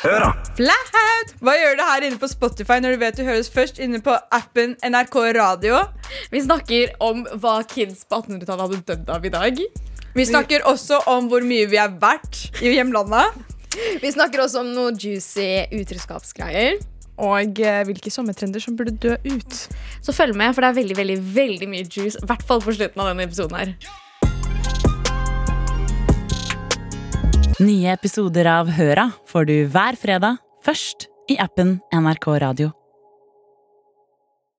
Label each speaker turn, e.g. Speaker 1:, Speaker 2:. Speaker 1: Hør, da!
Speaker 2: Flaut! Hva gjør du her inne på Spotify når du vet du høres først inne på appen NRK Radio?
Speaker 3: Vi snakker om hva kids på 1800-tallet hadde dødd av i dag.
Speaker 2: Vi snakker også om hvor mye vi er verdt i hjemlandet.
Speaker 3: Vi snakker også om noe juicy utroskapsgreier.
Speaker 4: Og eh, hvilke sommertrender som burde dø ut.
Speaker 3: Så følg med, for det er veldig veldig, veldig mye juice. I hvert fall på slutten av denne episoden. her
Speaker 5: Nye episoder av Høra får du hver fredag, først i appen NRK Radio.